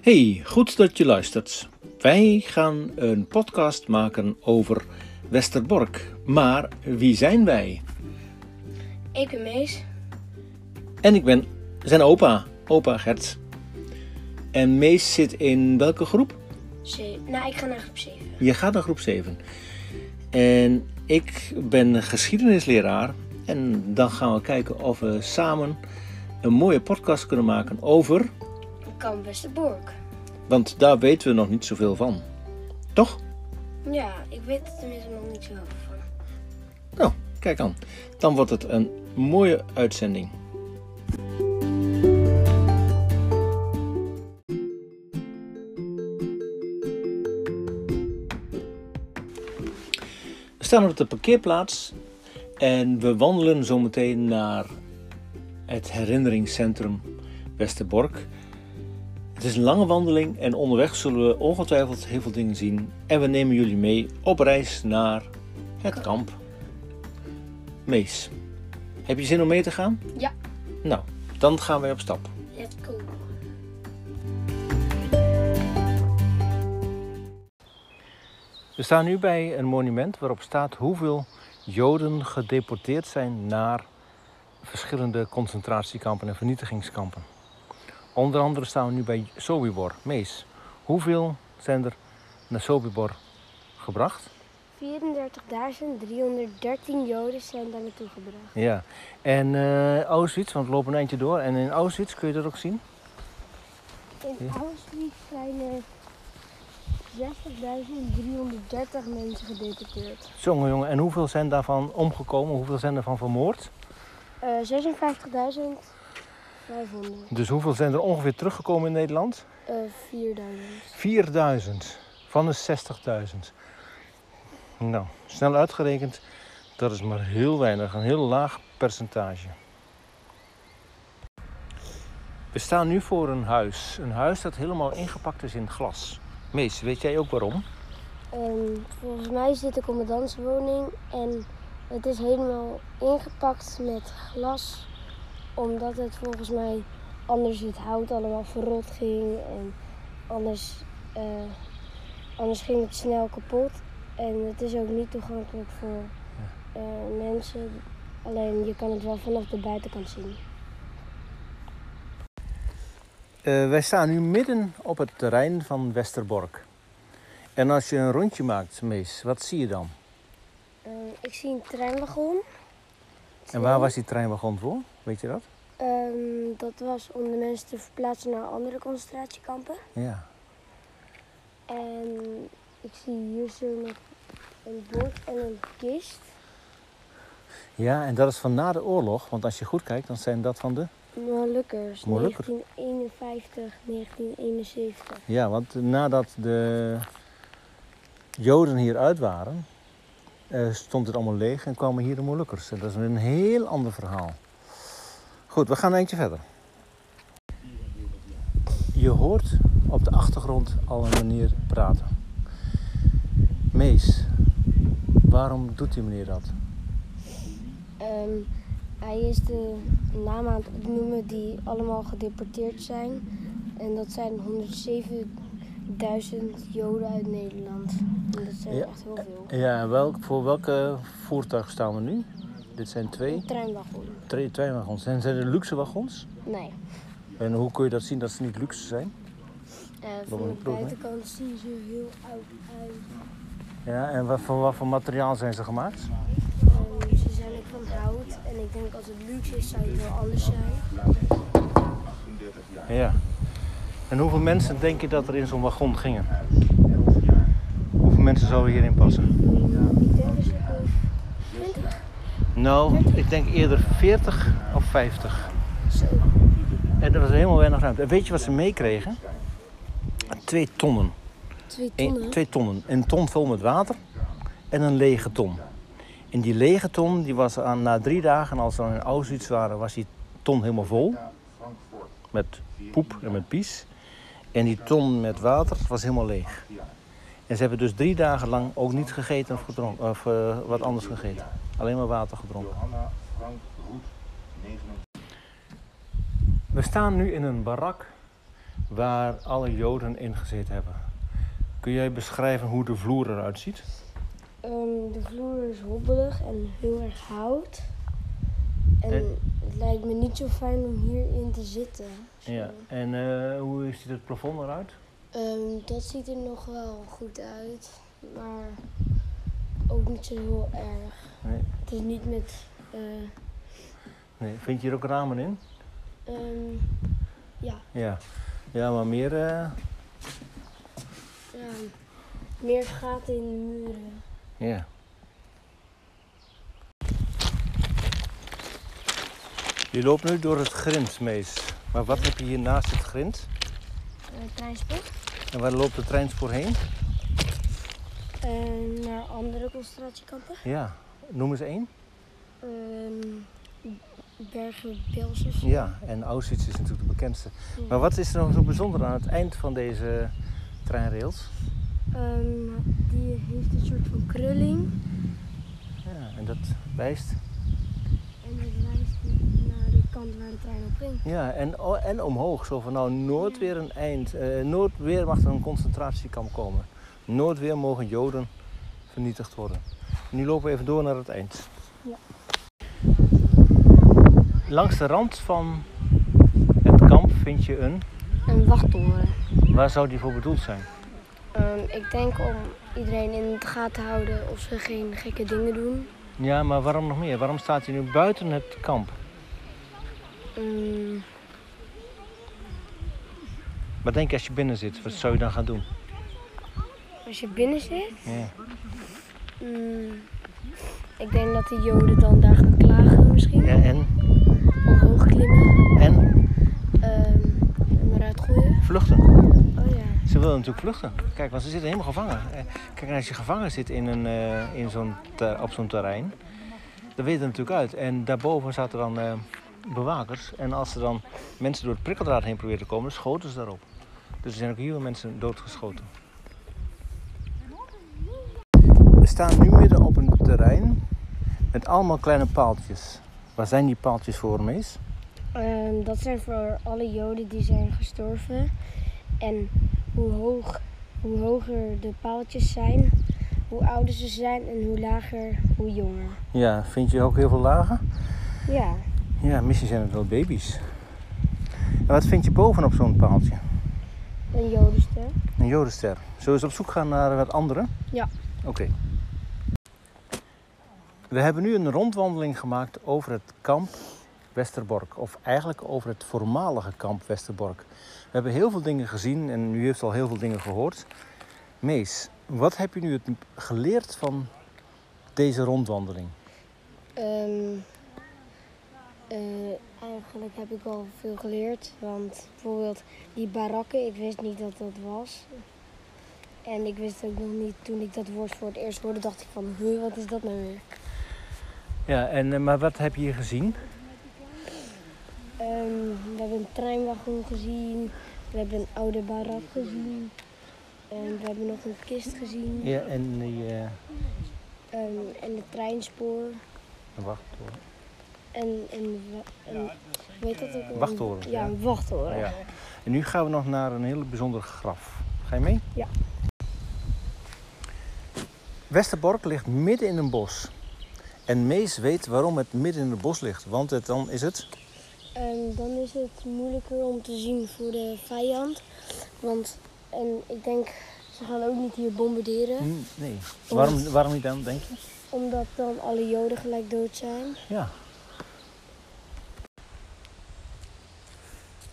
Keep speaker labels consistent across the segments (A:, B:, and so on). A: Hey, goed dat je luistert. Wij gaan een podcast maken over Westerbork. Maar wie zijn wij?
B: Ik ben Mees.
A: En ik ben zijn opa, opa Gert. En Mees zit in welke groep?
B: Ze- nou, ik ga naar groep 7.
A: Je gaat naar groep 7. En ik ben geschiedenisleraar. En dan gaan we kijken of we samen een mooie podcast kunnen maken over.
B: Kamp Westerbork.
A: Want daar weten we nog niet zoveel van. Toch?
B: Ja, ik weet er tenminste nog niet zo heel veel van.
A: Nou, kijk aan. Dan wordt het een mooie uitzending. We staan op de parkeerplaats en we wandelen zometeen naar het herinneringscentrum Westerbork. Het is een lange wandeling en onderweg zullen we ongetwijfeld heel veel dingen zien. En we nemen jullie mee op reis naar het kamp. Mees, heb je zin om mee te gaan?
B: Ja.
A: Nou, dan gaan wij op stap.
B: Let's go.
A: We staan nu bij een monument waarop staat hoeveel Joden gedeporteerd zijn naar verschillende concentratiekampen en vernietigingskampen. Onder andere staan we nu bij Sobibor. Mees, hoeveel zijn er naar Sobibor gebracht?
B: 34.313 Joden zijn daar naartoe gebracht.
A: Ja. En eh, Auschwitz, want we lopen een eindje door. En in Auschwitz kun je dat ook zien?
B: In Auschwitz zijn er 60.330 mensen gedeporteerd.
A: Jongen, jongen. En hoeveel zijn daarvan omgekomen? Hoeveel zijn daarvan vermoord?
B: Eh 56.500.
A: Dus hoeveel zijn er ongeveer teruggekomen in Nederland?
B: Eh 4.000.
A: 4000 van de 60.000. Nou, snel uitgerekend, dat is maar heel weinig, een heel laag percentage. We staan nu voor een huis. Een huis dat helemaal ingepakt is in glas. Mees, weet jij ook waarom?
B: En volgens mij is dit de commandantswoning en het is helemaal ingepakt met glas. Omdat het volgens mij anders het hout allemaal verrot ging en anders, eh, anders ging het snel kapot. En het is ook niet toegankelijk voor eh, mensen. Alleen je kan het wel vanaf de buitenkant zien.
A: Eh, wij staan nu midden op het terrein van Westerbork. En als je een rondje maakt, Mees, wat zie je dan?
B: Eh, ik zie een treinwagon.
A: En waar was die treinwagon voor? Weet je dat?
B: Ehm, dat was om de mensen te verplaatsen naar andere concentratiekampen.
A: Ja.
B: En ik zie hier zo nog een bord en een kist.
A: Ja, en dat is van na de oorlog, want als je goed kijkt, dan zijn dat van de
B: Molukkers,
A: Molukkers.
B: 1951, 1971.
A: Ja, want nadat de Joden hier uit waren, eh, stond het allemaal leeg en kwamen hier de Molukkers. En dat is een heel ander verhaal. Goed, we gaan een eindje verder. Je hoort op de achtergrond al een meneer praten. Mees, waarom doet die meneer dat?
B: Ehm, hij is de namen aan het opnoemen die allemaal gedeporteerd zijn. En dat zijn 107.000 Joden uit Nederland. En dat zijn
A: Ja. Eh,
B: echt heel veel.
A: Ja, en welk, voor welke voertuig staan we nu? Dit zijn twee,
B: Een treinwagon?
A: twee treinwagons. En zijn er luxe wagons?
B: Nee.
A: En hoe kun je dat zien dat ze niet luxe zijn?
B: Eh,
A: Nog
B: van
A: een
B: de
A: proef, hè?
B: buitenkant zien ze heel oud uit.
A: Ja, en wat voor, wat voor materiaal zijn ze gemaakt?
B: Ehm, ze zijn ook van hout en ik denk als het luxe is zou het wel anders zijn.
A: Ja. En hoeveel mensen denk je dat er in zo'n wagon gingen? Hoeveel mensen zouden hierin passen?
B: Ik denk dus ook wel
A: Nou, ik denk eerder 40 of 50.
B: zo.
A: En er was helemaal weinig ruimte. En weet je wat ze meekregen? Twee tonnen.
B: Twee
A: Eén-
B: tonnen.
A: twee tonnen. Een ton vol met water en een lege ton. En die lege ton, die was aan, na drie dagen, als we dan in Auschwitz waren, was die ton helemaal vol. Met poep en met pies. En die ton met water was helemaal leeg. En ze hebben dus drie dagen lang ook niet gegeten of, gedronken, of eh, wat anders gegeten. Alleen maar water gedronken.
C: Johanna Frank Roet, 29.
A: We staan nu in een barak waar alle Joden in gezeten hebben. Kun jij beschrijven hoe de vloer eruit ziet?
B: Ehm, de vloer is hobbelig en heel erg hout. En
A: En-
B: het lijkt me niet zo fijn om hierin te zitten. Zo.
A: Ja. En eh, hoe ziet het plafond eruit?
B: Ehm, dat ziet er nog wel goed uit, maar ook niet zo heel erg.
A: Nee.
B: Het is niet met. eh,
A: Nee. Vind je hier ook ramen in?
B: ehm, ja,
A: Ja. Ja, maar meer. eh,
B: ja, meer gaten in de muren.
A: Ja. Je loopt nu door het grindmees. Maar wat heb je hier naast het grind?
B: Uh, Treinspoor.
A: En waar loopt de treinspoor heen?
B: Ehm, naar andere concentratiekampen.
A: Ja. Noem eens één.
B: Ehm Bergen Belsers.
A: Ja, en Auschwitz is natuurlijk de bekendste.
B: Ja.
A: Maar wat is er nog zo bijzonder aan het eind van deze treinrails?
B: Ehm, die heeft een soort van krulling.
A: Ja, en dat wijst.
B: En dat wijst naar de kant waar de trein op ging.
A: Ja, en, o- en omhoog. Zo van nou, nooit
B: Ja.
A: weer een eind. eh, nooit weer mag er een concentratiekamp komen. Nooit weer mogen Joden vernietigd worden. Nu lopen we even door naar het eind.
B: Ja.
A: Langs de rand van het kamp vind je een.
B: Een wachttoren. Ehm,
A: Waar zou die voor bedoeld zijn?
B: ik denk om iedereen in het gaten te houden of ze geen gekke dingen doen.
A: Ja, maar waarom nog meer? Waarom staat hij nu buiten het kamp?
B: Ehm,
A: Wat denk je als je binnen zit? Wat zou je dan gaan doen?
B: als je binnen zit,
A: Ja.
B: ehm, ik denk dat de Joden dan daar gaan klagen misschien.
A: Ja, en?
B: Omhoog klimmen,
A: En?
B: ehm, en eruit gooien.
A: Vluchten.
B: Oh ja.
A: Ze willen natuurlijk vluchten. Kijk, want ze zitten helemaal gevangen. Eh, Kijk, en als je gevangen zit in een, eh, in zo'n ter- op zo'n terrein, dan weet het natuurlijk uit. En daarboven zaten dan eh, bewakers. En als er dan mensen door het prikkeldraad heen probeerden te komen, schoten ze daarop. Dus er zijn ook hier wel mensen doodgeschoten. We staan nu midden op een terrein met allemaal kleine paaltjes. Waar zijn die paaltjes voor, Mees?
B: Ehm, dat zijn voor alle Joden die zijn gestorven. En hoe, hoog, hoe hoger de paaltjes zijn, hoe ouder ze zijn en hoe lager, hoe jonger.
A: Ja, vind je ook heel veel lagen?
B: Ja,
A: Ja, misschien zijn het wel baby's. En wat vind je bovenop zo'n paaltje?
B: een Jodenster.
A: Een jodenster. Zullen we eens op zoek gaan naar wat andere?
B: Ja.
A: Oké. We hebben nu een rondwandeling gemaakt over het kamp Westerbork. Of eigenlijk over het voormalige kamp Westerbork. We hebben heel veel dingen gezien en u heeft al heel veel dingen gehoord. Mees, wat heb je nu het geleerd van deze rondwandeling?
B: Ehm, eh, eigenlijk heb ik wel veel geleerd. Want bijvoorbeeld die barakken, ik wist niet dat dat was. En ik wist ook nog niet, toen ik dat woord voor het eerst hoorde, dacht ik van, huh, wat is dat nou weer?
A: Ja, en, eh, maar wat heb je hier gezien?
B: Ehm, we hebben een treinwagon gezien, we hebben een oude barak gezien, en we hebben nog een kist gezien
A: Ja, en die... eh,
B: ehm, en het treinspoor
A: wacht hoor.
B: en, en, wa- en weet dat ook? Een-
A: Wachttoren,
B: Ja,
A: ja.
B: een wachttoren.
A: Ja. En nu gaan we nog naar een hele bijzondere graf. Ga je mee?
B: Ja.
A: Westerbork ligt midden in een bos. En Mees weet waarom het midden in het bos ligt. Want het, dan is het...
B: Ehm, dan is het moeilijker om te zien voor de vijand, want en ik denk ze gaan ook niet hier bombarderen,
A: Hm, Nee. Waarom, waarom niet dan, denk je?
B: omdat dan alle Joden gelijk dood zijn.
A: Ja.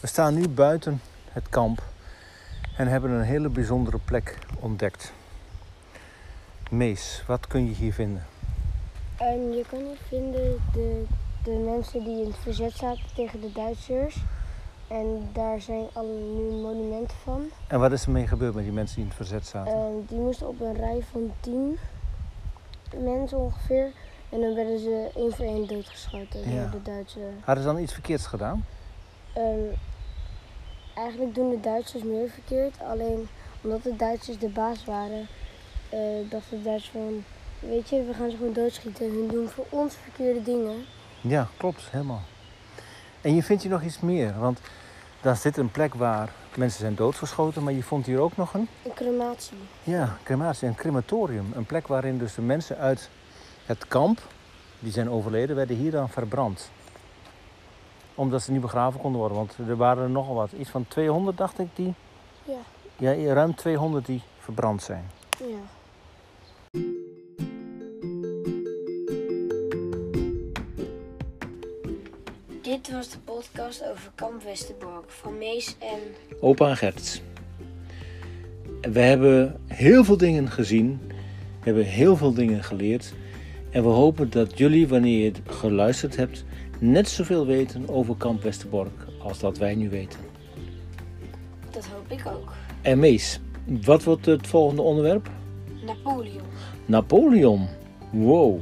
A: We staan nu buiten het kamp. En hebben een hele bijzondere plek ontdekt. Mees, wat kun je hier vinden?
B: En Ehm, je kan hier vinden de, de mensen die in het verzet zaten tegen de Duitsers. En daar zijn al nu monumenten van.
A: En wat is er mee gebeurd met die mensen die in het verzet zaten?
B: En die moesten op een rij van tien mensen ongeveer. En dan werden ze één voor één doodgeschoten
A: Ja.
B: door de Duitsers.
A: Hadden ze dan iets verkeerds gedaan?
B: Ehm, eigenlijk doen de Duitsers meer verkeerd. Alleen omdat de Duitsers de baas waren, eh, dachten de Duitsers van... Weet je, we gaan ze gewoon doodschieten. Hun doen voor ons verkeerde dingen.
A: Ja, klopt, helemaal. En je vindt hier nog iets meer, want Daar zit een plek waar mensen zijn doodgeschoten, maar je vond hier ook nog een
B: Een crematie.
A: ja, crematie, een crematorium. Een plek waarin dus de mensen uit het kamp, die zijn overleden, werden hier dan verbrand. Omdat ze niet begraven konden worden, want er waren er nogal wat. Iets van 200 dacht ik, die,
B: Ja.
A: ja, ruim 200 die verbrand zijn.
B: Ja. Dit was de podcast over Kamp Westerbork van Mees en
A: Opa en Gerts. We hebben heel veel dingen gezien. We hebben heel veel dingen geleerd. En we hopen dat jullie, wanneer je het geluisterd hebt, net zoveel weten over Kamp Westerbork als dat wij nu weten.
B: dat hoop ik ook.
A: En Mees, wat wordt het volgende onderwerp?
B: Napoleon.
A: Napoleon. Wow.